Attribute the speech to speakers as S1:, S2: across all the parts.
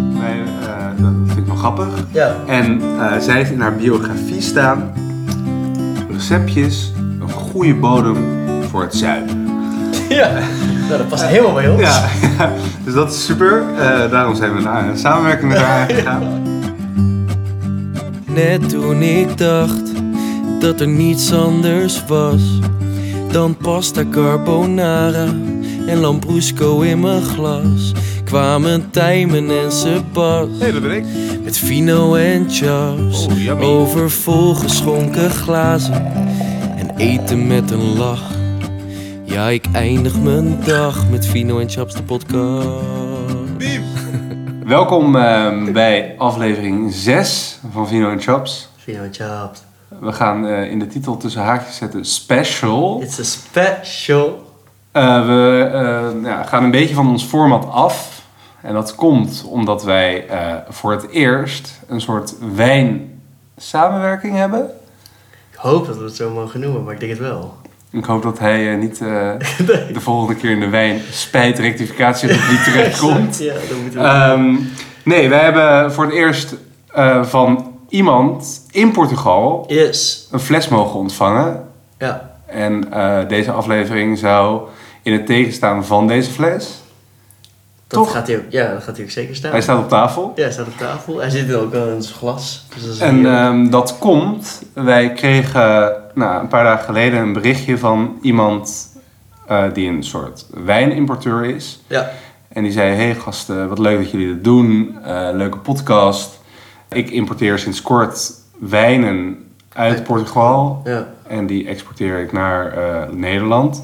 S1: Nou, eh, grappig.
S2: Ja.
S1: En eh, zij heeft in haar biografie staan receptjes, een goede bodem voor het zuiden.
S2: Ja, nou, dat past helemaal bij ons.
S1: Ja, dus dat is super. Eh, daarom zijn we naar een samenwerking met haar gegaan.
S3: Net toen ik dacht dat er niets anders was dan pasta carbonara en lambrusco in mijn glas, kwamen Tijmen en Sebas
S1: Hé, dat ben ik.
S3: met Vino en Chaps
S1: Oh, yummy.
S3: over volgeschonken glazen en eten met een lach. Ja, ik eindig mijn dag met Vino en Chaps de podcast.
S1: Welkom eh, bij aflevering 6 van Vino en Chops.
S2: Vino en Chaps.
S1: We gaan eh, in de titel tussen haakjes zetten special.
S2: It's a special.
S1: Eh, we eh, ja, gaan een beetje van ons format af. En dat komt omdat wij eh, voor het eerst een soort wijn-samenwerking hebben.
S2: Ik hoop dat we het zo mogen noemen, maar ik denk het wel.
S1: Ik hoop dat hij eh, niet eh, de volgende keer in de wijn spijt, rectificatie, dat niet terechtkomt.
S2: Ja, dat moeten we.
S1: Ehm, nee, wij hebben voor het eerst eh, van iemand in Portugal
S2: yes.
S1: een fles mogen ontvangen.
S2: Ja.
S1: En eh, deze aflevering zou in het tegenstaan van deze fles.
S2: Dat
S1: Toch?
S2: gaat hij ook, ja, dat gaat hij ook zeker staan.
S1: Hij staat op tafel.
S2: Ja, hij staat op tafel. Hij zit ook al in zijn glas. Dus dat is
S1: En
S2: heel-
S1: ehm, dat komt, wij kregen nou, een paar dagen geleden een berichtje van iemand eh, die een soort wijnimporteur is.
S2: ja.
S1: En die zei, hey gasten, wat leuk dat jullie dit doen. Eh, leuke podcast. Ik importeer sinds kort wijnen uit Portugal.
S2: Ja.
S1: En die exporteer ik naar eh, Nederland.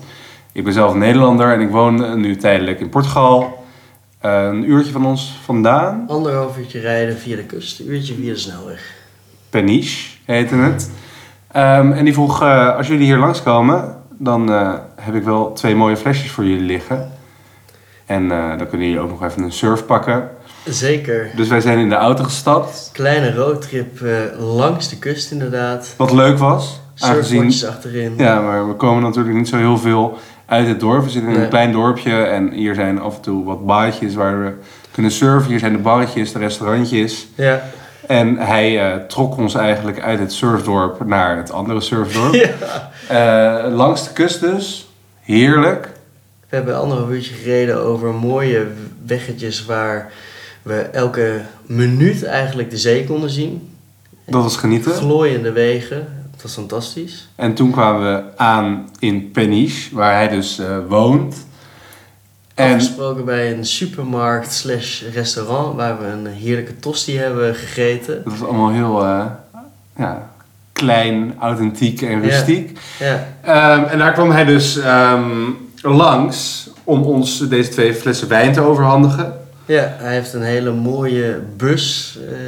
S1: Ik ben zelf een Nederlander en ik woon eh, nu tijdelijk in Portugal. Eh, een uurtje van ons vandaan.
S2: Anderhalf uurtje rijden via de kust, een uurtje via de snelweg.
S1: Peniche heette het. Ehm, en die vroeg, eh, als jullie hier langskomen, dan eh, heb ik wel twee mooie flesjes voor jullie liggen. En eh, dan kunnen jullie ook nog even een surf pakken.
S2: Zeker.
S1: Dus wij zijn in de auto gestapt.
S2: Kleine roadtrip eh, langs de kust inderdaad.
S1: Wat leuk was, aangezien...
S2: Surfboardjes achterin.
S1: Ja, maar we komen natuurlijk niet zo heel veel uit het dorp. We zitten in een
S2: Nee.
S1: klein dorpje en hier zijn af en toe wat baadjes waar we kunnen surfen. Hier zijn de barretjes, de restaurantjes.
S2: Ja.
S1: En hij eh, trok ons eigenlijk uit het surfdorp naar het andere surfdorp.
S2: Ja.
S1: Eh, langs de kust dus. Heerlijk.
S2: We hebben anderhalf uurtje gereden over mooie weggetjes waar we elke minuut eigenlijk de zee konden zien.
S1: Dat was genieten.
S2: Glooiende wegen. Het was fantastisch.
S1: En toen kwamen we aan in Peniche, waar hij dus eh, woont. En
S2: Afgesproken bij een supermarkt slash restaurant waar we een heerlijke tosti hebben gegeten.
S1: dat was allemaal heel eh, ja, klein, authentiek en
S2: Ja.
S1: rustiek.
S2: Ja,
S1: Ehm, en daar kwam hij dus ehm, langs om ons deze twee flessen wijn te overhandigen.
S2: ja hij heeft een hele mooie bus eh,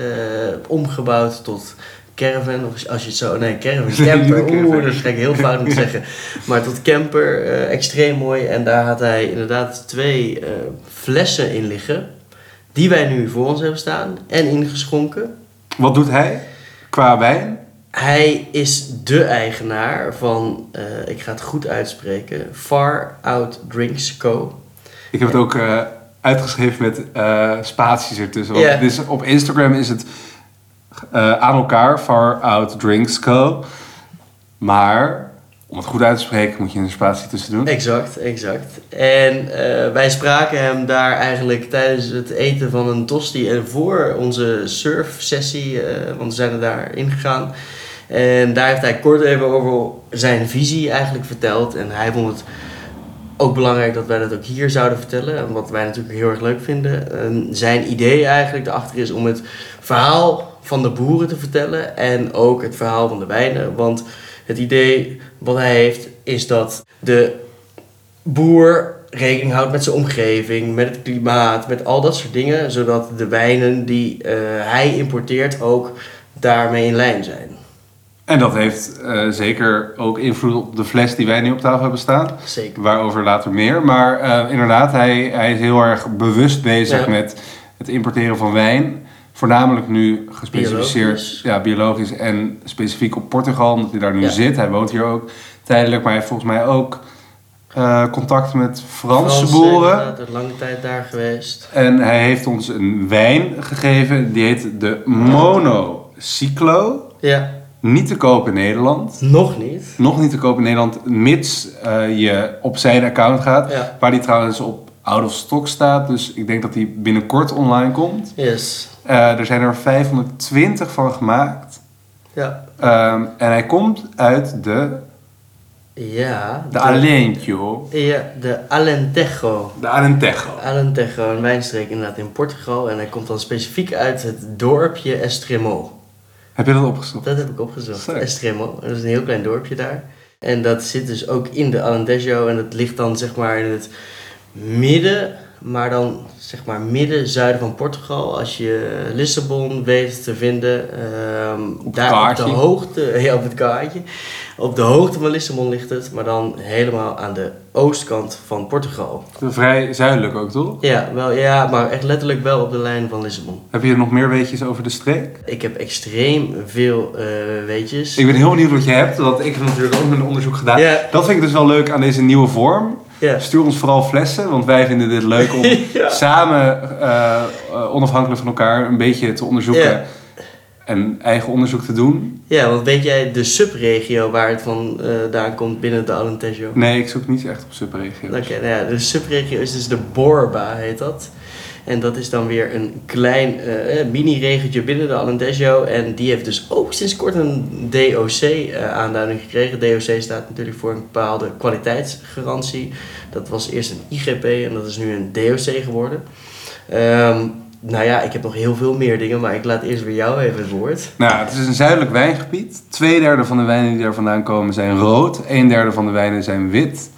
S2: omgebouwd tot caravan. Of als je het zo... Nee, caravan, camper.
S1: caravan.
S2: Oeh, dat ga ik heel fout moeten zeggen. Maar tot camper, eh, extreem mooi. En daar had hij inderdaad twee eh, flessen in liggen. Die wij nu voor ons hebben staan en ingeschonken.
S1: Wat doet hij qua wijn?
S2: Hij is de eigenaar van, eh, ik ga het goed uitspreken, Far Out Drinks Co.
S1: Ik heb het ook eh, uitgeschreven met eh, spaties ertussen. Want
S2: Ja.
S1: het is- op Instagram is het eh, aan elkaar, Far Out Drinks Co. Maar om het goed uit te spreken moet je een spatie tussen doen.
S2: Exact, exact. En eh, wij spraken hem daar eigenlijk tijdens het eten van een tosti en voor onze surfsessie, eh want we zijn er daar ingegaan. En daar heeft hij kort even over zijn visie eigenlijk verteld. En hij vond het ook belangrijk dat wij dat ook hier zouden vertellen. En wat wij natuurlijk heel erg leuk vinden. En zijn idee eigenlijk erachter is om het verhaal van de boeren te vertellen. En ook het verhaal van de wijnen. Want het idee wat hij heeft is dat de boer rekening houdt met zijn omgeving, met het klimaat, met al dat soort dingen. Zodat de wijnen die eh, hij importeert ook daarmee in lijn zijn.
S1: En dat heeft eh, zeker ook invloed op de fles die wij nu op tafel hebben staan.
S2: Zeker.
S1: Waarover later meer. Maar eh, inderdaad, hij, hij is heel erg bewust bezig
S2: Ja.
S1: met het importeren van wijn. Voornamelijk nu gespecialiseerd
S2: Biologisch.
S1: Ja, biologisch en specifiek op Portugal, omdat hij daar nu
S2: Ja.
S1: zit. Hij woont hier ook tijdelijk, maar hij heeft volgens mij ook eh, contact met Frans
S2: Fransen,
S1: geboren.
S2: inderdaad, lange tijd daar geweest.
S1: En hij heeft ons een wijn gegeven. Die heet de Monocyclo.
S2: Ja,
S1: Niet te koop in Nederland.
S2: nog niet.
S1: Nog niet te koop in Nederland, mits eh, je op zijn account gaat.
S2: Ja.
S1: Waar die trouwens op out of stock staat. Dus ik denk dat die binnenkort online komt.
S2: Yes.
S1: Eh, er zijn er 520 van gemaakt.
S2: Ja.
S1: Ehm, en hij komt uit de...
S2: Ja.
S1: De Alentejo.
S2: Ja, de Alentejo.
S1: De Alentejo.
S2: Alentejo, een wijnstreek inderdaad in Portugal. En hij komt dan specifiek uit het dorpje Estremol.
S1: Heb je dat opgezocht?
S2: Dat heb ik opgezocht.
S1: Sick.
S2: Estremo. Dat is een heel klein dorpje daar. En dat zit dus ook in de Alentejo. En dat ligt dan zeg maar in het midden, maar dan zeg maar midden-zuiden van Portugal. Als je Lissabon weet te vinden. ehm,
S1: het
S2: daar
S1: kaartje.
S2: op de hoogte, ja, op het kaartje. Op de hoogte van Lissabon ligt het, maar dan helemaal aan de oostkant van Portugal.
S1: Vrij zuidelijk ook, toch?
S2: Ja, wel, ja, maar echt letterlijk wel op de lijn van Lissabon.
S1: Heb je nog meer weetjes over de streek?
S2: Ik heb extreem veel eh, weetjes.
S1: Ik ben heel benieuwd wat je hebt, want ik heb natuurlijk ook mijn onderzoek gedaan.
S2: Ja.
S1: Dat vind ik dus wel leuk aan deze nieuwe vorm.
S2: Ja.
S1: Stuur ons vooral flessen, want wij vinden dit leuk om
S2: Ja.
S1: samen, eh, eh, onafhankelijk van elkaar, een beetje te onderzoeken.
S2: Ja.
S1: En eigen onderzoek te doen.
S2: Ja, want weet jij de subregio waar het vandaan komt binnen de Alentejo?
S1: Nee, ik zoek niet echt op subregio's.
S2: Oké, nou ja, de subregio is dus de Borba, heet dat. En dat is dan weer een klein eh, eh, mini-regentje binnen de Alentejo. En die heeft dus ook sinds kort een DOC-aanduiding eh, gekregen. DOC staat natuurlijk voor een bepaalde kwaliteitsgarantie. Dat was eerst een IGP en dat is nu een DOC geworden. Ehm, nou ja, ik heb nog heel veel meer dingen, maar ik laat eerst weer jou even het woord.
S1: Nou, het is een zuidelijk wijngebied. Twee derde van de wijnen die daar vandaan komen zijn rood. Een derde van de wijnen zijn wit.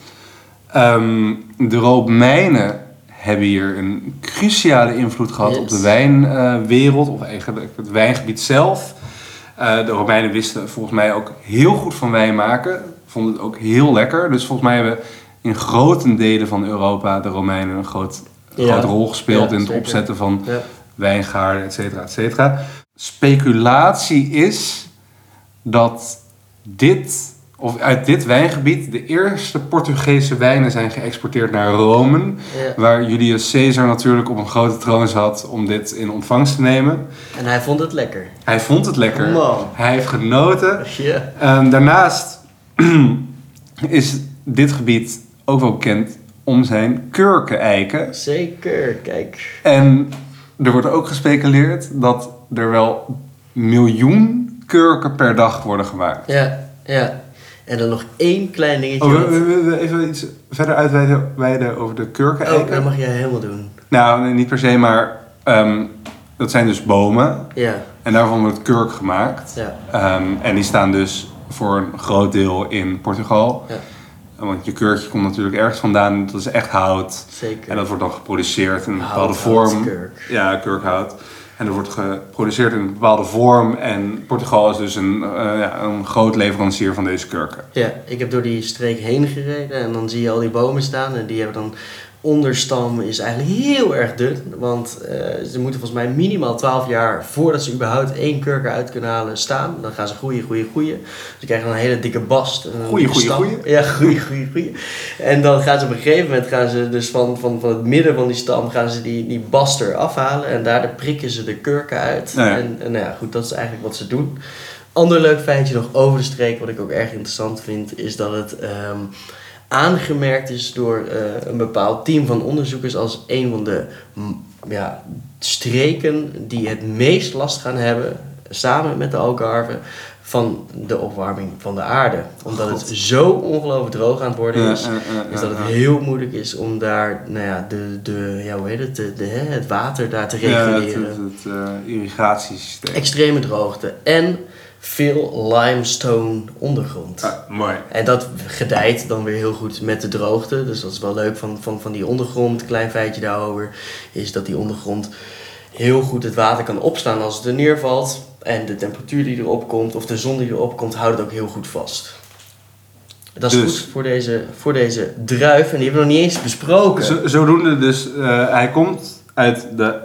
S1: Ehm, de Romeinen hebben hier een cruciale invloed gehad
S2: Yes.
S1: op de wijnwereld. of eigenlijk het wijngebied zelf. Eh, de Romeinen wisten volgens mij ook heel goed van wijn maken. Vonden het ook heel lekker. Dus volgens mij hebben in grote delen van Europa de Romeinen een groot,
S2: Ja.
S1: grote rol gespeeld
S2: Ja,
S1: in het
S2: zeker.
S1: opzetten van
S2: Ja.
S1: wijngaarden, et cetera, et cetera. Speculatie is dat dit, of uit dit wijngebied de eerste Portugese wijnen zijn geëxporteerd naar Rome.
S2: Ja.
S1: Waar Julius Caesar natuurlijk op een grote troon zat om dit in ontvangst te nemen.
S2: En hij vond het lekker.
S1: Hij vond het lekker.
S2: Wow.
S1: Hij heeft genoten.
S2: Ja.
S1: Ehm, daarnaast is dit gebied ook wel bekend om zijn kurkeneiken.
S2: Zeker, kijk.
S1: En er wordt ook gespeculeerd dat er wel miljoen kurken per dag worden gemaakt.
S2: Ja, ja. En dan nog één klein dingetje.
S1: Oh,
S2: wat-
S1: we, we- we- we even iets verder uitweiden wijden over de Eh,
S2: Oh,
S1: kurkeneiken.
S2: dat mag jij helemaal doen.
S1: Nou, nee, niet per se, maar ehm, dat zijn dus bomen.
S2: Ja,
S1: En daarvan wordt kurk gemaakt.
S2: ja,
S1: Ehm, en die staan dus voor een groot deel in Portugal.
S2: ja.
S1: Want je kurkje komt natuurlijk ergens vandaan. Dat is echt hout.
S2: Zeker.
S1: En dat wordt dan geproduceerd in een
S2: Hout,
S1: bepaalde
S2: hout,
S1: vorm.
S2: kurk.
S1: Ja, kurkhout. En dat wordt geproduceerd in een bepaalde vorm. En Portugal is dus een, eh, ja, een groot leverancier van deze kurken.
S2: Ja, ik heb door die streek heen gereden en dan zie je al die bomen staan. En die hebben dan onderstam is eigenlijk heel erg dun. Want eh, ze moeten volgens mij minimaal 12 jaar voordat ze überhaupt één kurk eruit kunnen halen staan. Dan gaan ze groeien, groeien, groeien. Ze krijgen dan een hele dikke bast. en een
S1: Groeien,
S2: dikke
S1: groeien,
S2: stam. Ja, groeien, groeien, groeien. En dan gaan ze op een gegeven moment gaan ze dus van, van, van het midden van die stam gaan ze die, die bast eraf halen. En daardoor prikken ze de kurken uit.
S1: Nou ja.
S2: En en nou ja, goed, dat is eigenlijk wat ze doen. Ander leuk feitje nog over de streek, wat ik ook erg interessant vind, is dat het ehm, aangemerkt is door eh, een bepaald team van onderzoekers als een van de mm, ja, streken die het meest last gaan hebben, samen met de Algarve, van de opwarming van de aarde. Omdat het zo ongelooflijk droog aan het worden
S1: Ja,
S2: is,
S1: ja, ja,
S2: is
S1: ja,
S2: dat het
S1: ja.
S2: heel moeilijk is om daar nou ja, de, de, ja, hoe heet het, de, de, hè, het water daar te reguleren
S1: het, het, het, eh, irrigatiesysteem.
S2: extreme droogte en veel limestone ondergrond.
S1: Ah, mooi.
S2: En dat gedijt dan weer heel goed met de droogte. Dus dat is wel leuk van, van, van die ondergrond. Klein feitje daarover is dat die ondergrond heel goed het water kan opslaan als het er neervalt. En de temperatuur die erop komt of de zon die erop komt houdt het ook heel goed vast. Dat is
S1: Dus.
S2: goed voor deze, voor deze druif. En die hebben we nog niet eens besproken.
S1: Zo- zodoende dus, eh, hij komt uit de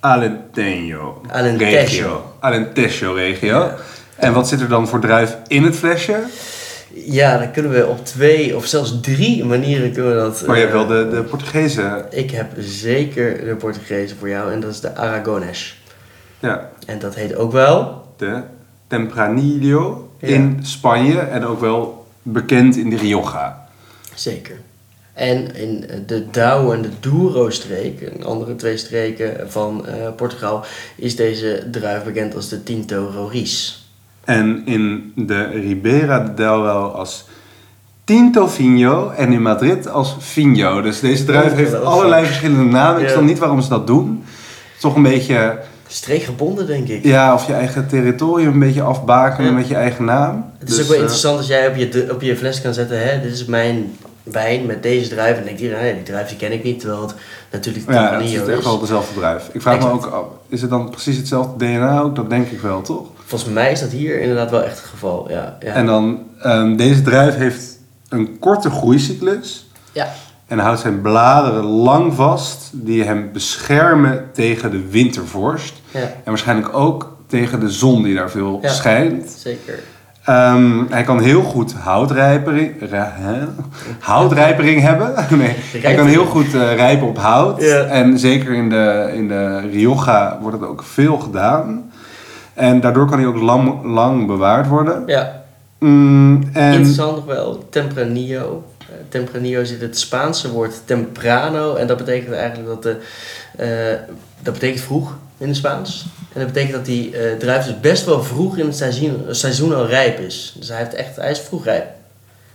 S1: Alentejo.
S2: Alentejo.
S1: Regio. Alentejo regio. En wat zit er dan voor druif in het flesje?
S2: Ja, dan kunnen we op twee of zelfs drie manieren kunnen we dat...
S1: Maar Oh, je hebt wel
S2: eh,
S1: de, de Portugese.
S2: Ik heb zeker de Portugese voor jou en dat is de Aragones.
S1: Ja,
S2: En dat heet ook wel...
S1: de Tempranillo
S2: Ja.
S1: in Spanje en ook wel bekend in de Rioja.
S2: Zeker. En in de Douro en de Douro-streek, een andere twee streken van eh, Portugal, is deze druif bekend als de Tinto Roriz.
S1: En in de Ribera del Douro als Tinto Vinho en in Madrid als Vinho. Dus deze druif heeft allerlei verschillende namen. Ik
S2: Ja.
S1: snap niet waarom ze dat doen. Het is Toch een beetje,
S2: Streekgebonden, denk ik.
S1: ja, of je eigen territorium een beetje afbakenen
S2: Ja.
S1: met je eigen naam.
S2: Het is
S1: Dus,
S2: ook wel
S1: eh,
S2: interessant als jij op je, op je fles kan zetten, hè, dit is mijn wijn met deze druif. En dan denkt iedereen, nee, die druif die ken ik niet, terwijl het natuurlijk de
S1: Ja,
S2: ja,
S1: het is echt
S2: is.
S1: wel dezelfde druif. Ik vraag
S2: Exact.
S1: me ook, af, is het dan precies hetzelfde DNA ook? Dat denk ik wel, toch?
S2: Volgens mij is dat hier inderdaad wel echt het geval, ja. ja.
S1: En dan, ehm, deze druif heeft een korte groeicyclus
S2: ja.
S1: en houdt zijn bladeren lang vast die hem beschermen tegen de wintervorst.
S2: ja.
S1: En waarschijnlijk ook tegen de zon die daar veel
S2: Ja.
S1: schijnt.
S2: Zeker.
S1: Ehm, hij kan heel goed houtrijpering, ra- hè? houtrijpering hebben. Nee, hij kan heel goed eh, rijpen op hout.
S2: Ja.
S1: En zeker in de, in de Rioja wordt het ook veel gedaan. En daardoor kan hij ook lang, lang bewaard worden.
S2: Ja,
S1: Mm, en
S2: interessant nog wel. Tempranillo. Eh, Tempranillo zit het Spaanse woord temprano. En dat betekent eigenlijk dat de... eh, dat betekent vroeg in het Spaans. En dat betekent dat die eh, druif dus best wel vroeg in het seizoen, seizoen al rijp is. Dus hij, heeft echt, hij is vroeg rijp.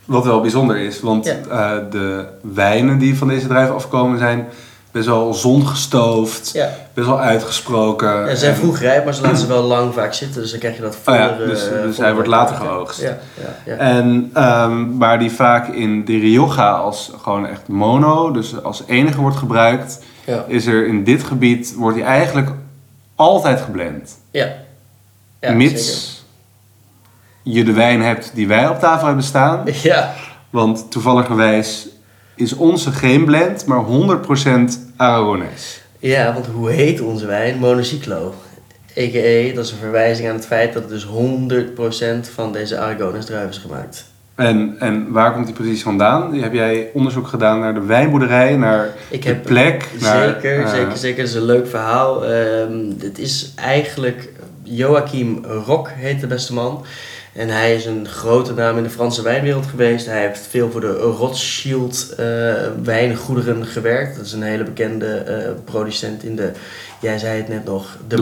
S1: Wat wel bijzonder is, want
S2: Ja.
S1: eh, de wijnen die van deze druif afkomen zijn best wel zongestoofd,
S2: Ja.
S1: best wel uitgesproken.
S2: Ja, ze zijn
S1: En-
S2: vroeg rijp, maar ze laten ze wel lang vaak zitten. Dus dan krijg je dat
S1: Oh ja,
S2: vollere,
S1: dus-
S2: eh,
S1: dus hij
S2: vollere
S1: wordt later
S2: karakter.
S1: geoogst.
S2: Ja, ja, ja.
S1: En ehm, waar die vaak in de Rioja als gewoon echt mono, dus als enige wordt gebruikt,
S2: ja.
S1: is er in dit gebied, wordt die eigenlijk altijd geblend.
S2: ja. Ja,
S1: mits je de wijn hebt die wij op tafel hebben staan.
S2: zeker. Ja,
S1: Want toevalligerwijs is onze geen blend, maar 100% Aragonese.
S2: Ja, want hoe heet onze wijn? Monocyclo. EKE, dat is een verwijzing aan het feit dat het dus 100% van deze Aragones druif is gemaakt.
S1: En, en waar komt die precies vandaan? Heb jij onderzoek gedaan naar de wijnboerderij, naar
S2: Ik
S1: de
S2: heb
S1: plek? naar,
S2: zeker,
S1: eh,
S2: zeker, zeker. Dat is een leuk verhaal. Ehm het is eigenlijk Joachim Rock heet de beste man. En hij is een grote naam in de Franse wijnwereld geweest. Hij heeft veel voor de Rothschild eh, wijngoederen gewerkt. Dat is een hele bekende eh, producent in de, jij zei het net nog, de,
S1: de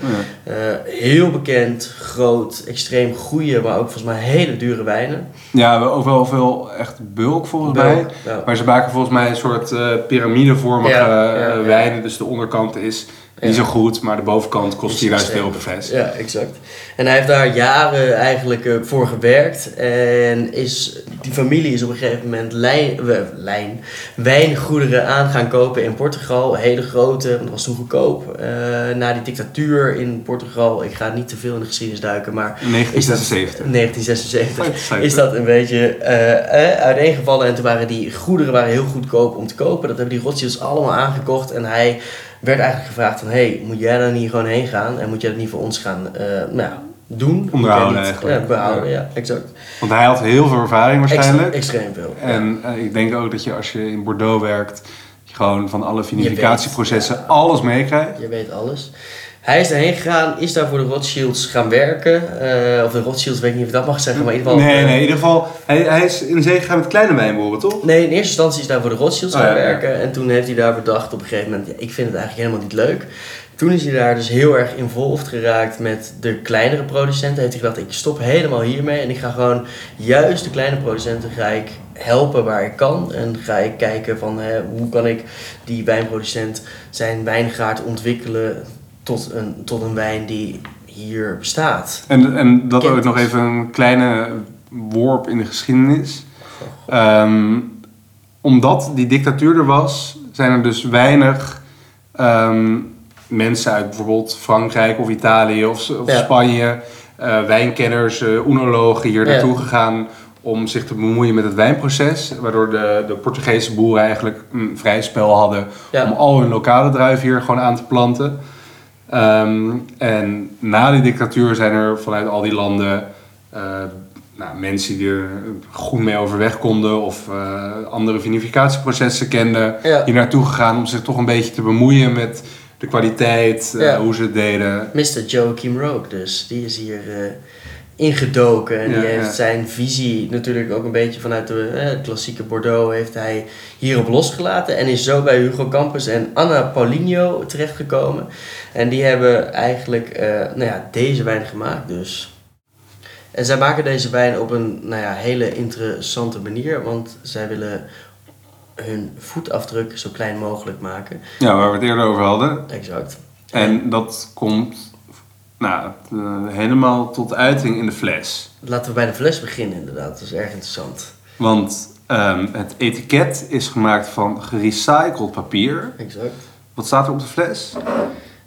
S1: Bordeaux. Ja.
S2: Eh, heel bekend, groot, extreem goede, maar ook volgens mij hele dure wijnen.
S1: Ja, wel- ook wel veel echt bulk volgens mij.
S2: Ja.
S1: Maar ze maken volgens mij een soort eh piramidevormige
S2: Ja, ja,
S1: eh,
S2: ja.
S1: wijnen. Dus de onderkant is
S2: Ja.
S1: niet zo goed, maar de bovenkant kost 10.000 euro per fles.
S2: Ja, exact. En hij heeft daar jaren eigenlijk eh, voor gewerkt. En is, die familie is op een gegeven moment lijn, we- lijn, wijngoederen aan gaan kopen in Portugal. Hele grote, want dat was toen goedkoop. Eh, na die dictatuur in Portugal, ik ga niet te veel in de geschiedenis duiken, maar
S1: In 1976.
S2: 1976
S1: Fuck,
S2: is dat een beetje eh, eh, uiteengevallen. En toen waren die goederen waren heel goedkoop om te kopen. Dat hebben die Rothschilds allemaal aangekocht. En hij werd eigenlijk gevraagd van... hey, moet jij daar niet gewoon heen gaan? En moet jij dat niet voor ons gaan eh, nou, ja, doen? Moet jij
S1: Onderhouden
S2: niet-
S1: eigenlijk.
S2: Ja, behouden, ja, exact.
S1: Want hij had heel veel ervaring waarschijnlijk.
S2: Extra- extreem veel.
S1: En eh, ik denk ook dat je als je in Bordeaux werkt, je gewoon van alle
S2: weet,
S1: vinificatieprocessen
S2: ja.
S1: alles meekrijgt.
S2: Je weet alles. Hij is daarheen gegaan, is daar voor de Rothschilds gaan werken. Eh, of de Rothschilds, weet ik niet of ik dat mag zeggen, maar in ieder geval...
S1: Nee,
S2: eh,
S1: nee, in ieder geval, hij, hij is in zee gegaan met kleine wijnboeren, toch?
S2: Nee, in eerste instantie is hij voor de Rothschilds
S1: Oh,
S2: gaan
S1: ja, ja.
S2: werken. En toen heeft hij daar bedacht op een gegeven moment, ja, ik vind het eigenlijk helemaal niet leuk. Toen is hij daar dus heel erg involved geraakt met de kleinere producenten. Heeft hij gedacht, ik stop helemaal hiermee. En ik ga gewoon juist de kleine producenten ga ik helpen waar ik kan. En ga ik kijken van hè, hoe kan ik die wijnproducent zijn wijngaard ontwikkelen tot een, tot een wijn die hier bestaat.
S1: En, en dat
S2: Kent
S1: ook nog
S2: is.
S1: even een kleine worp in de geschiedenis. Ehm, omdat die dictatuur er was, zijn er dus weinig ehm, mensen uit bijvoorbeeld Frankrijk of Italië of, of
S2: Ja.
S1: Spanje, eh, wijnkenners, eh oenologen hier
S2: Ja.
S1: naartoe gegaan om zich te bemoeien met het wijnproces. Waardoor de, de Portugese boeren eigenlijk een vrij spel hadden
S2: Ja.
S1: om al hun lokale druiven hier gewoon aan te planten. Ehm, en na die dictatuur zijn er vanuit al die landen eh, nou, mensen die er goed mee overweg konden of eh, andere vinificatieprocessen kenden,
S2: Ja.
S1: hier naartoe gegaan om zich toch een beetje te bemoeien met de kwaliteit, eh,
S2: Ja.
S1: hoe ze het deden.
S2: Mr. Joachim Rogue dus, die is hier eh, ingedoken en
S1: Ja,
S2: die heeft
S1: ja.
S2: zijn visie natuurlijk ook een beetje vanuit de eh, klassieke Bordeaux heeft hij hierop losgelaten en is zo bij Hugo Campus en Anna Paulinho terechtgekomen en die hebben eigenlijk eh, nou ja, deze wijn gemaakt dus. En zij maken deze wijn op een nou ja, hele interessante manier, want zij willen hun voetafdruk zo klein mogelijk maken.
S1: Ja, waar we het eerder over hadden.
S2: Exact.
S1: En dat komt nou, eh, helemaal tot uiting in de fles.
S2: Laten we bij de fles beginnen inderdaad, dat is erg interessant.
S1: Want ehm, het etiket is gemaakt van gerecycled papier.
S2: Exact.
S1: Wat staat er op de fles?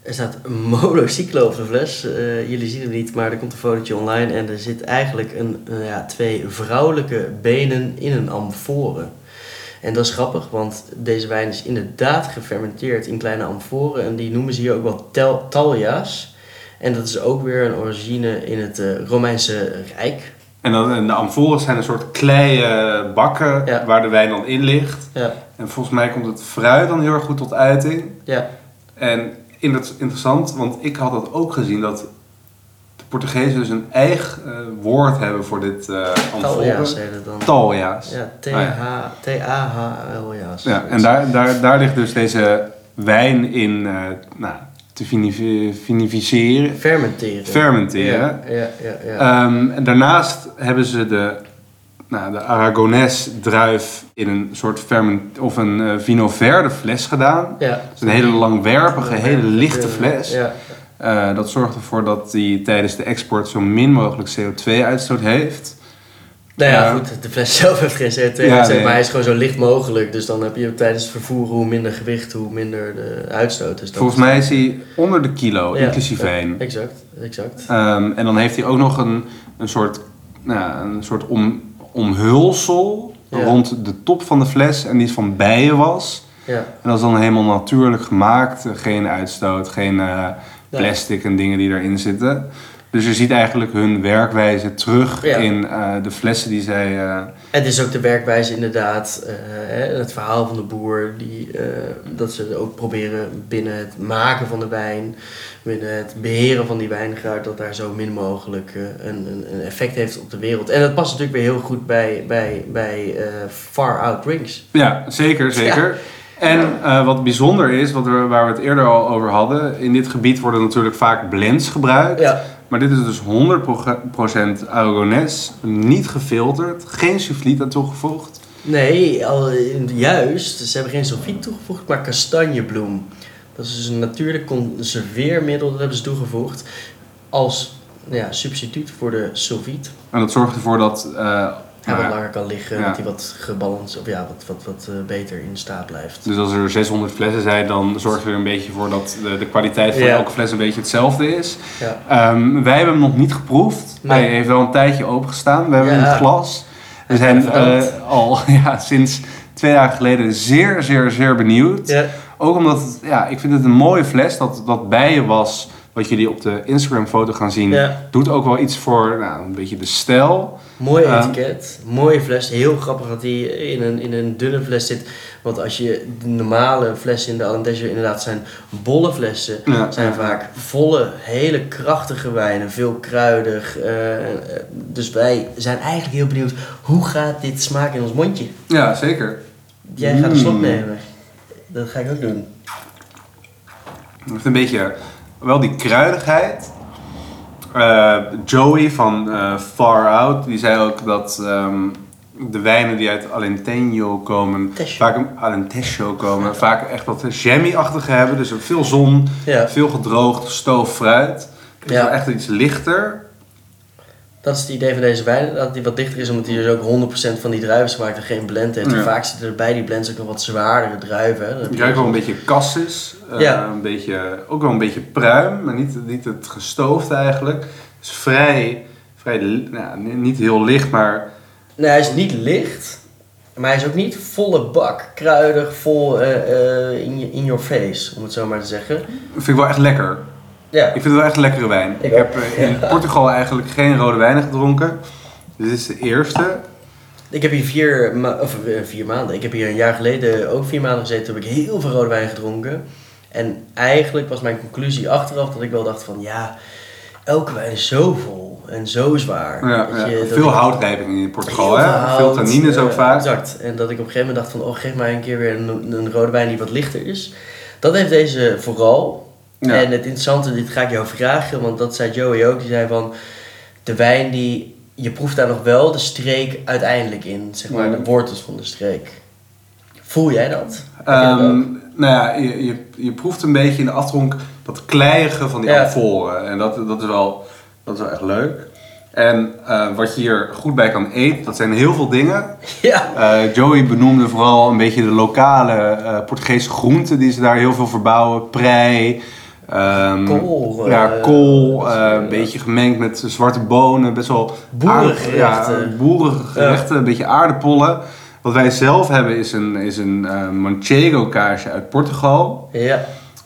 S2: Er staat monocyclo op de fles. Eh, jullie zien het niet, maar er komt een fotootje online. En er zit eigenlijk een, eh, ja, twee vrouwelijke benen in een amforen. En dat is grappig, want deze wijn is inderdaad gefermenteerd in kleine amforen. En die noemen ze hier ook wel tel- talja's. En dat is ook weer een origine in het eh, Romeinse Rijk.
S1: En, dan, en de amforen zijn een soort kleie bakken
S2: Ja.
S1: waar de wijn dan in ligt.
S2: Ja,
S1: En volgens mij komt het fruit dan heel erg goed tot uiting.
S2: ja.
S1: En in- dat is interessant, want ik had dat ook gezien dat de Portugezen dus een eigen eh, woord hebben voor dit eh
S2: talja's
S1: amforen.
S2: heet het dan.
S1: Talja's.
S2: Ja,
S1: Ah, ja.
S2: T-H- T-A-H-L-ja's.
S1: Ja, en daar, daar, daar ligt dus deze wijn in eh, nou, te vinifi- vinificeren,
S2: Fermenteren.
S1: fermenteren.
S2: Ja, ja, ja. ja.
S1: Ehm, en daarnaast hebben ze de, nou, de Aragones druif in een soort ferment, of een eh, Vino Verde fles gedaan.
S2: Ja.
S1: Dus een hele langwerpige, hele lichte
S2: Ja,
S1: fles.
S2: Ja,
S1: Eh, dat zorgt ervoor dat die tijdens de export zo min mogelijk CO2-uitstoot heeft.
S2: nou ja,
S1: Ja.
S2: goed, de fles zelf heeft geen CO2
S1: Ja,
S2: uitstoot,
S1: nee.
S2: maar hij is gewoon zo licht mogelijk. Dus dan heb je tijdens het vervoer hoe minder gewicht, hoe minder de uitstoot. Dus dat
S1: Volgens mij is hij onder de kilo,
S2: Ja,
S1: inclusief
S2: ja,
S1: wijn.
S2: Exact, exact.
S1: Ehm, en dan heeft hij ook nog een, een soort, nou, ja, een soort om, omhulsel
S2: Ja.
S1: rond de top van de fles. En die is van bijenwas.
S2: Ja,
S1: En dat is dan helemaal natuurlijk gemaakt. eh, Geen uitstoot, geen eh, plastic en dingen die erin zitten. Dus je ziet eigenlijk hun werkwijze terug
S2: Ja.
S1: in eh, de flessen die zij... eh,
S2: het is ook de werkwijze inderdaad, eh, hè, het verhaal van de boer, die, eh, dat ze ook proberen binnen het maken van de wijn, binnen het beheren van die wijngaard, dat daar zo min mogelijk eh, een, een, een effect heeft op de wereld. En dat past natuurlijk weer heel goed bij, bij, bij eh, Far Out Drinks.
S1: Ja, zeker, zeker. En eh, wat bijzonder is, wat we, waar we het eerder al over hadden... In dit gebied worden natuurlijk vaak blends gebruikt.
S2: Ja.
S1: Maar dit is dus 100% Aragonés, niet gefilterd, geen souffliet aan toegevoegd.
S2: Nee, al, juist. Ze hebben geen sulfiet toegevoegd, maar kastanjebloem. Dat is dus een natuurlijk conserveermiddel, dat hebben ze toegevoegd. Als ja, substituut voor de sulfiet.
S1: En dat zorgt ervoor dat... eh,
S2: Hij
S1: nou
S2: wat
S1: ja,
S2: langer kan liggen,
S1: ja.
S2: dat hij wat gebalanceerd, of ja, wat, wat, wat eh, beter in staat blijft.
S1: dus als er 600 flessen zijn, dan zorgt er een beetje voor dat de, de kwaliteit van
S2: Ja.
S1: elke fles een beetje hetzelfde is.
S2: Ja.
S1: Ehm, wij hebben hem nog niet geproefd.
S2: Nee.
S1: Hij heeft wel een tijdje opengestaan. We hebben
S2: Ja.
S1: hem in het glas. We
S2: Hij
S1: zijn
S2: staat verbrand.
S1: eh, al ja, sinds twee dagen geleden zeer, zeer, zeer benieuwd.
S2: Ja.
S1: Ook omdat, het- ja, ik vind het een mooie fles. Dat, dat bijen was, wat jullie op de Instagram foto gaan zien,
S2: Ja.
S1: doet ook wel iets voor nou, een beetje de stijl.
S2: Mooi
S1: Ja.
S2: etiket, mooie fles. Heel grappig dat die in een, in een dunne fles zit. Want als je de normale flessen in de Alentejo inderdaad zijn bolle flessen.
S1: Ja.
S2: zijn vaak volle, hele krachtige wijnen, veel kruidig. eh, eh, dus wij zijn eigenlijk heel benieuwd, hoe gaat dit smaken in ons mondje?
S1: Ja, zeker.
S2: Jij gaat een slok
S1: Mm.
S2: nemen. Dat ga ik ook doen.
S1: Het heeft een beetje wel die kruidigheid. Eh, Joey van eh, Far Out, die zei ook dat ehm, de wijnen die uit Alentejo komen,
S2: Tejo.
S1: vaak een Alentejo komen, vaak echt wat jammy-achtige hebben. Dus ook veel zon,
S2: Ja.
S1: veel gedroogd, stoof fruit. Dus
S2: Ja.
S1: wel echt iets lichter.
S2: Dat is het idee van deze wijn, dat die wat dichter is, omdat hij dus ook 100% van die druiven is gemaakt en geen blend heeft.
S1: Ja.
S2: En vaak zitten er bij die blends ook nog wat zwaardere druiven. hè. Dan heb
S1: Ik
S2: je-
S1: ruik wel een beetje cassis, eh,
S2: Ja.
S1: een beetje, ook wel een beetje pruim, maar niet, niet het gestoofde eigenlijk. Dus vrij, vrij li- nou, niet heel licht, maar
S2: Nee, hij is niet licht, maar hij is ook niet volle bak, kruidig, vol eh, eh, in, je- in your face, om het zo maar te zeggen.
S1: vind ik wel echt lekker.
S2: Ja,
S1: Ik vind het wel echt een lekkere wijn. Ik,
S2: Ik
S1: heb
S2: ook.
S1: eh, in Portugal eigenlijk geen rode wijnen gedronken. Dit is de eerste.
S2: Ik heb hier vier, ma- of, eh, vier maanden, ik heb hier een jaar geleden ook vier maanden gezeten. Toen heb ik heel veel rode wijn gedronken. En eigenlijk was mijn conclusie achteraf dat ik wel dacht van ja, elke wijn is zo vol en zo zwaar.
S1: Ja,
S2: Dat
S1: ja.
S2: je- dat
S1: Veel
S2: ik-
S1: houtrijping in Portugal,
S2: Heel
S1: hè? Veel
S2: hout,
S1: tannines ook
S2: eh,
S1: vaak.
S2: Exact. En dat ik op een gegeven moment dacht van, oh geef mij een keer weer een, een rode wijn die wat lichter is. Dat heeft deze vooral.
S1: Ja.
S2: En het interessante, dit ga ik jou vragen, want dat zei Joey ook. Die zei van, de wijn die, je proeft daar nog wel de streek uiteindelijk in. Zeg maar,
S1: Ja.
S2: de wortels van de streek. Voel jij dat? Heb jij dat
S1: Ehm,
S2: ook?
S1: nou ja, je, je, je proeft een beetje in de afdronk dat kleiige van die
S2: Ja.
S1: amforen. En dat, dat, is wel, dat is wel echt leuk. En eh, wat je hier goed bij kan eten, dat zijn heel veel dingen.
S2: ja.
S1: Eh, Joey benoemde vooral een beetje de lokale eh, Portugese groenten die ze daar heel veel verbouwen. Prei, ehm,
S2: Kool, eh,
S1: ja, kool
S2: dat is,
S1: eh,
S2: eh,
S1: een beetje gemengd met zwarte bonen. Best wel
S2: Boerengerechten.
S1: aardig- Ja, boerengerechten, een beetje aardappollen. Wat wij zelf hebben is een, is een eh, manchego kaasje uit Portugal.
S2: ja,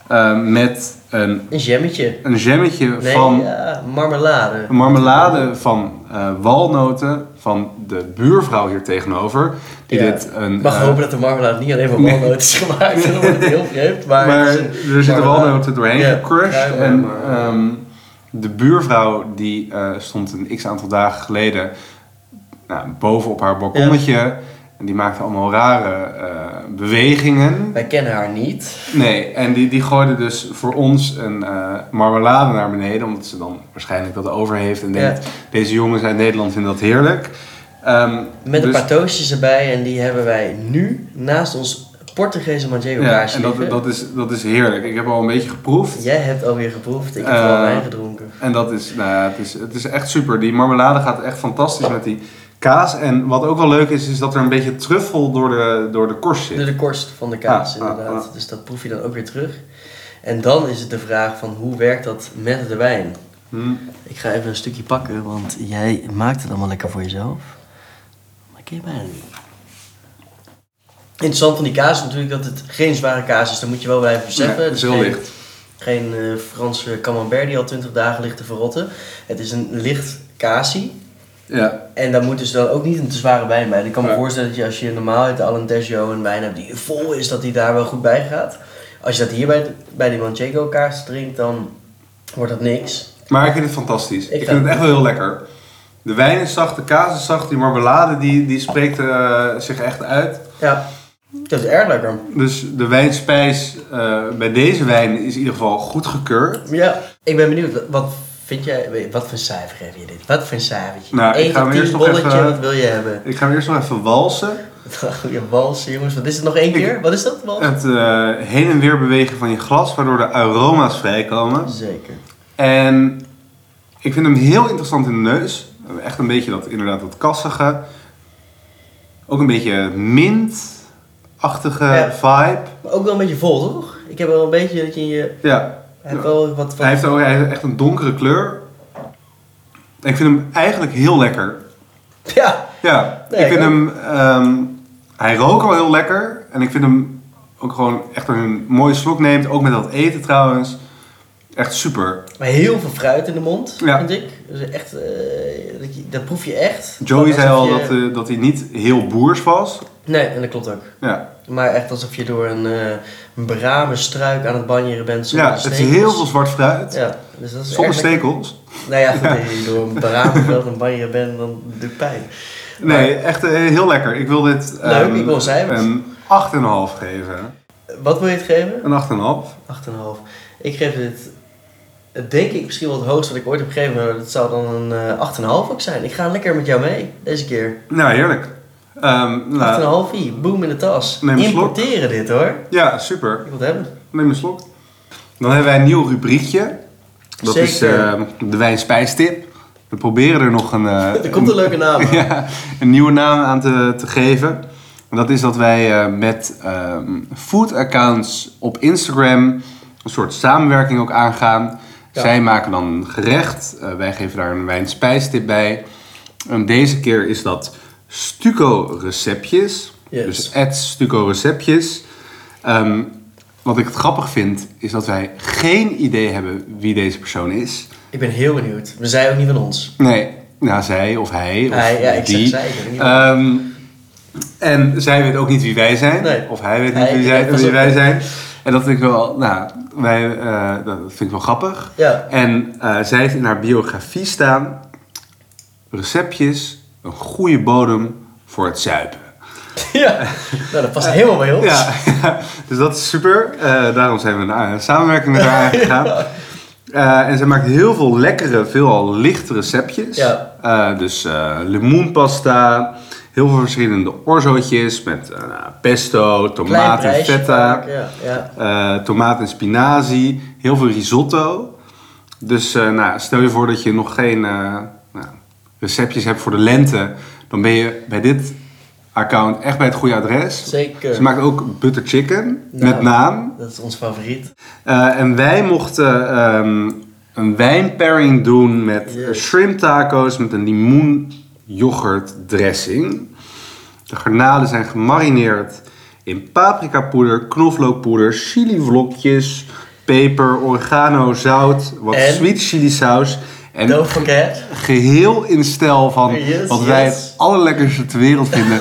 S1: eh, met een,
S2: een jammetje.
S1: een jammetje
S2: Nee,
S1: van
S2: ja, marmelade.
S1: een marmelade van eh, walnoten van de buurvrouw hier tegenover. Die
S2: Ja.
S1: dit een,
S2: Ik mag
S1: eh,
S2: hopen dat de marmelade niet alleen van
S1: Nee.
S2: walnoten is gemaakt. Dan wordt het heel vreemd. Maar,
S1: Maar
S2: het is een-
S1: er zitten
S2: maar- eh,
S1: walnoten doorheen
S2: Ja,
S1: gecrushed.
S2: kruimen,
S1: en
S2: maar-
S1: ehm, de buurvrouw die eh, stond een x aantal dagen geleden nou, boven op haar balkonnetje. En die maakte allemaal rare eh, bewegingen.
S2: Wij kennen haar niet.
S1: Nee, en die, die gooide dus voor ons een eh, marmelade naar beneden. Omdat ze dan waarschijnlijk dat over heeft. En
S2: Ja.
S1: denkt, deze jongens uit Nederland vinden dat heerlijk. Ehm,
S2: Met
S1: dus-
S2: een paar toastjes erbij. En die hebben wij nu naast ons Portugese manchego
S1: Ja,
S2: kaasje
S1: en dat,
S2: liggen.
S1: dat, is, dat is heerlijk. Ik heb al een beetje geproefd.
S2: Jij hebt alweer geproefd. Ik heb
S1: Eh,
S2: al wijn gedronken.
S1: En dat is, nou ja, het is, het is echt super. Die marmelade gaat echt fantastisch met die kaas. En wat ook wel leuk is, is dat er een beetje truffel door de, door de korst
S2: De,
S1: zit.
S2: de korst van de kaas,
S1: Ah, ah,
S2: inderdaad. Dus dat proef je dan ook weer terug. En dan is het de vraag van hoe werkt dat met de wijn?
S1: Hm.
S2: Ik ga even een stukje pakken, want jij maakt het allemaal lekker voor jezelf. Maar ik ken je bijna niet. Interessant van die kaas is natuurlijk dat het geen zware kaas is. Dat moet je wel blijven beseffen.
S1: Nee, het is heel
S2: geen-
S1: licht.
S2: Geen eh, Franse camembert die al 20 dagen ligt te verrotten. Het is een licht kaasie.
S1: Ja.
S2: En daar moet dus dan ook niet een te zware wijn bij. Ik kan me
S1: Ja.
S2: voorstellen dat je als je normaal uit de Alentejo een wijn hebt die vol is, dat die daar wel goed bij gaat. Als je dat hier bij, bij die Manchego kaas drinkt, dan wordt dat niks.
S1: Maar ik vind het fantastisch. Ik,
S2: ga-
S1: vind het echt wel heel lekker. De wijn is zacht, de kaas is zacht, die marmelade die, die spreekt eh, zich echt uit.
S2: Ja, dat is erg lekker.
S1: Dus de wijnspijs eh, bij deze wijn is in ieder geval goed gekeurd.
S2: Ja. Ik ben benieuwd, wat- wat vind jij, wat voor cijfer geef je dit? Wat voor cijfertje?
S1: Nou, ik
S2: Eén
S1: ga
S2: tot
S1: hem
S2: tien
S1: eerst nog
S2: bolletje,
S1: even- eh,
S2: wat wil je hebben?
S1: Ik ga hem eerst nog even walsen.
S2: Goeie wals, jongens. Wat is het nog één
S1: Ik-
S2: keer? Wat is dat? Wals?
S1: Het eh, heen en weer bewegen van je glas, waardoor de aroma's vrijkomen.
S2: Zeker.
S1: En ik vind hem heel interessant in de neus. Echt een beetje dat, inderdaad, dat kassige. Ook een beetje mint-achtige
S2: Ja.
S1: vibe.
S2: Maar ook wel een beetje vol, toch? Ik heb wel een beetje dat je in je...
S1: Ja.
S2: Hij heeft wel wat van...
S1: Hij heeft ook hij heeft echt een donkere kleur. En ik vind hem eigenlijk heel lekker.
S2: Ja,
S1: Ja,
S2: Nee,
S1: ik vind
S2: ik
S1: hem... ehm, hij rookt al heel lekker. En ik vind hem ook gewoon echt een mooie slok neemt. Ook met dat eten trouwens. Echt super.
S2: maar heel veel fruit in de mond,
S1: Ja.
S2: vind ik. Dus echt, eh, dat, je- Oh, dat proef je echt.
S1: Joey
S2: Alsof
S1: zei al
S2: je-
S1: dat, eh, dat hij niet heel boers was.
S2: Nee, en dat klopt ook.
S1: Ja,
S2: Maar echt alsof je door een, eh een brame struik aan het banjeren bent zonder
S1: Ja, het is
S2: stekels.
S1: heel veel zwart fruit.
S2: Ja, dus dat is
S1: Zonder
S2: erg lekker.
S1: stekels.
S2: Nou ja, goed, als je door een bramenveld aan banjeren bent, dan doet het pijn.
S1: Nee, echt eh, heel lekker. Ik wil dit
S2: Leuk,
S1: ehm,
S2: ik wil cijfers.
S1: een 8,5 geven.
S2: eh, Wat wil je het geven?
S1: Een 8,5.
S2: 8,5. Ik geef dit, eh, denk ik, misschien wel het hoogste wat ik ooit heb gegeven. Maar dat zou dan een eh, 8,5 ook zijn. Ik ga lekker met jou mee, deze keer.
S1: Nou, heerlijk. Ehm, nou,
S2: 8,5 i, boom in de tas.
S1: Neem een slok.
S2: Importeren dit hoor.
S1: ja, super.
S2: Ik wil het hebben.
S1: Neem een slok. Dan hebben wij een nieuw rubriekje. Dat is
S2: Zeker.
S1: ehm, de wijnspijstip. We proberen er nog een, eh,
S2: Er komt een leuke naam aan.
S1: ja, een nieuwe naam aan te, te geven. En dat is dat wij eh, met ehm, food accounts op Instagram een soort samenwerking ook aangaan.
S2: Ja.
S1: Zij maken dan een gerecht. eh, wij geven daar een wijnspijstip bij. En deze keer is dat Stuco Receptjes.
S2: Yes.
S1: Dus at Stuco Receptjes. Ehm, wat ik het grappig vind, is dat wij geen idee hebben wie deze persoon is.
S2: Ik ben heel benieuwd. We zijn ook niet van ons.
S1: Nee, Ja, zij of hij of
S2: Hij, ja, ik zeg
S1: die.
S2: zij. ik weet niet.
S1: Ehm, en zij weet ook niet wie wij zijn.
S2: Nee.
S1: Of hij weet niet
S2: Hij-
S1: wie, zij,
S2: dat is
S1: wie
S2: ook-
S1: wij zijn. En dat vind ik wel, nou, wij, eh, dat vind ik wel grappig.
S2: ja.
S1: En eh, zij heeft in haar biografie staan... Receptjes, een goede bodem voor het zuipen.
S2: ja, nou dat past helemaal bij ons.
S1: Ja, dus dat is super. Eh, daarom zijn we naar een samenwerking met haar aangegaan. Eh, en zij maakt heel veel lekkere, veelal lichte receptjes.
S2: Ja.
S1: Eh, dus eh, limoenpasta, heel veel verschillende orzootjes met eh, nou, pesto,
S2: Klein
S1: tomaat en
S2: prijsje
S1: feta,
S2: vaak, Ja, ja.
S1: eh, tomaat en spinazie, heel veel risotto. Dus eh, nou, stel je voor dat je nog geen eh, nou, receptjes hebt voor de lente, dan ben je bij dit account echt bij het goede adres.
S2: Zeker.
S1: Ze maakt ook butter chicken
S2: Nou.
S1: met naam.
S2: Dat is ons favoriet.
S1: Eh, en wij mochten ehm, een wijnpairing doen met
S2: Yes.
S1: shrimp tacos met een limoen yoghurt dressing. De garnalen zijn gemarineerd in paprikapoeder, knoflookpoeder, chilivlokjes, peper, oregano, zout, wat
S2: En?
S1: sweet chili saus. En
S2: Don't forget.
S1: geheel in stijl van
S2: Yes,
S1: wat wij
S2: yes.
S1: het allerlekkerste ter wereld vinden,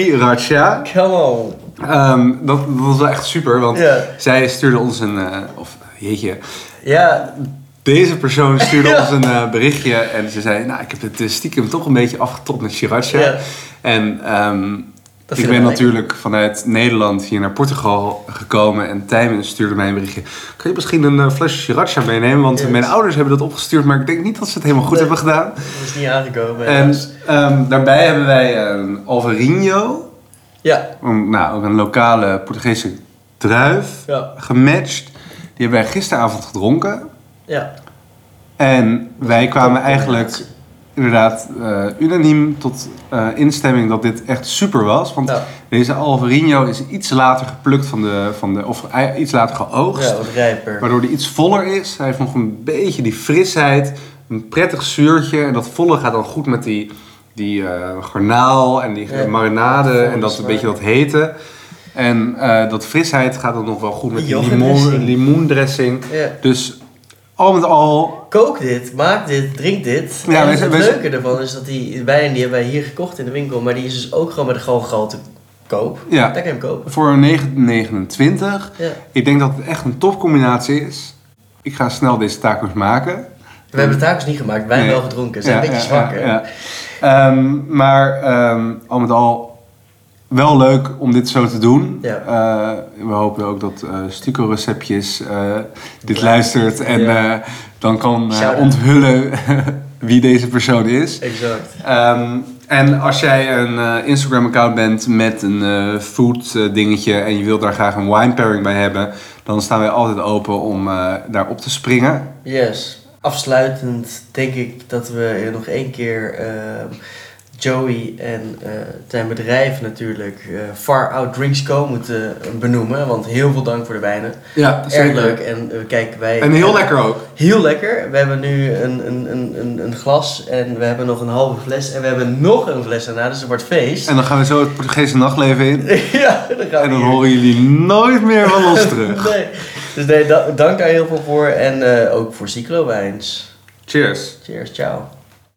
S1: sriracha.
S2: Come on.
S1: Ehm, dat, dat was wel echt super, want
S2: Ja.
S1: zij stuurde ons een. eh, of jeetje.
S2: Ja,
S1: Deze persoon stuurde ons een eh, berichtje en ze zei: Nou, ik heb het eh, stiekem toch een beetje afgetopt met Sriracha.
S2: Ja.
S1: En ehm,
S2: Dat
S1: ik
S2: vind
S1: ben
S2: ik wel
S1: natuurlijk vanuit Nederland hier naar Portugal gekomen en Tijmen stuurde mij een berichtje: Kan je misschien een eh, flesje Sriracha meenemen? Want
S2: Yes.
S1: mijn ouders hebben dat opgestuurd, maar ik denk niet dat ze het helemaal goed
S2: Nee.
S1: hebben gedaan.
S2: dat is niet aangekomen.
S1: En ehm, daarbij hebben wij een Alvarinho,
S2: Ja,
S1: een- nou, ook een lokale Portugese druif
S2: ja,
S1: gematcht. Die hebben wij gisteravond gedronken.
S2: ja.
S1: En wij kwamen
S2: Top
S1: eigenlijk inderdaad eh, unaniem tot eh, instemming dat dit echt super was. Want
S2: Nou,
S1: deze Alvarino is iets later geplukt van de, van de of ei- iets later geoogst.
S2: ja, wat rijper.
S1: Waardoor die iets voller is. Hij heeft nog een beetje die frisheid, een prettig zuurtje. En dat volle gaat dan goed met die, die eh, garnaal en die
S2: Ja.
S1: marinade en dat
S2: Volgens
S1: een beetje
S2: mij.
S1: dat hete. En eh, dat frisheid gaat dan nog wel goed met
S2: Die
S1: die
S2: yoghurtdressing.
S1: limoen, limoendressing.
S2: Ja.
S1: Dus al met al,
S2: Kook dit, maak dit, drink dit.
S1: Ja,
S2: en
S1: wij-
S2: het
S1: wij-
S2: leuke ervan is dat die wijn, die hebben wij hier gekocht in de winkel, maar die is dus ook gewoon met de galgal te koop.
S1: Ja.
S2: Daar kan je hem kopen.
S1: voor 9,29.
S2: Ja.
S1: Ik denk dat het echt een topcombinatie is. Ik ga snel deze tacos maken.
S2: We hebben de tacos niet gemaakt, wijn
S1: Nee.
S2: wel gedronken. Ze zijn
S1: Ja,
S2: een beetje
S1: ja,
S2: zwak,
S1: ja,
S2: hè?
S1: ja. Ehm, maar ehm, al met al wel leuk om dit zo te doen.
S2: Ja.
S1: Eh, we hopen ook dat eh Stuco Receptjes eh, dit luistert en
S2: Ja.
S1: eh, dan kan eh,
S2: Shout-out.
S1: onthullen wie deze persoon is.
S2: Exact.
S1: Ehm, en als jij een eh, Instagram-account bent met een eh, food eh, dingetje en je wilt daar graag een wine pairing bij hebben, dan staan wij altijd open om eh, daar op te springen.
S2: Yes. Afsluitend denk ik dat we nog één keer ehm, Joey en eh, zijn bedrijf natuurlijk eh, Far Out Drinks Co. moeten eh, benoemen. Want heel veel dank voor de wijnen.
S1: Ja,
S2: Erg leuk. En eh, kijk, wij...
S1: En heel lekker ook.
S2: Heel lekker. We hebben nu een, een, een, een, een glas en we hebben nog een halve fles. En we hebben nog een fles daarna, dus het wordt feest.
S1: En dan gaan we zo het Portugese nachtleven in.
S2: ja, dan gaan we
S1: En dan
S2: hier.
S1: horen jullie nooit meer van ons terug.
S2: Nee. Dus nee, da- dank daar heel veel voor. En eh, ook voor Cyclo Wijns.
S1: Cheers.
S2: Cheers, ciao.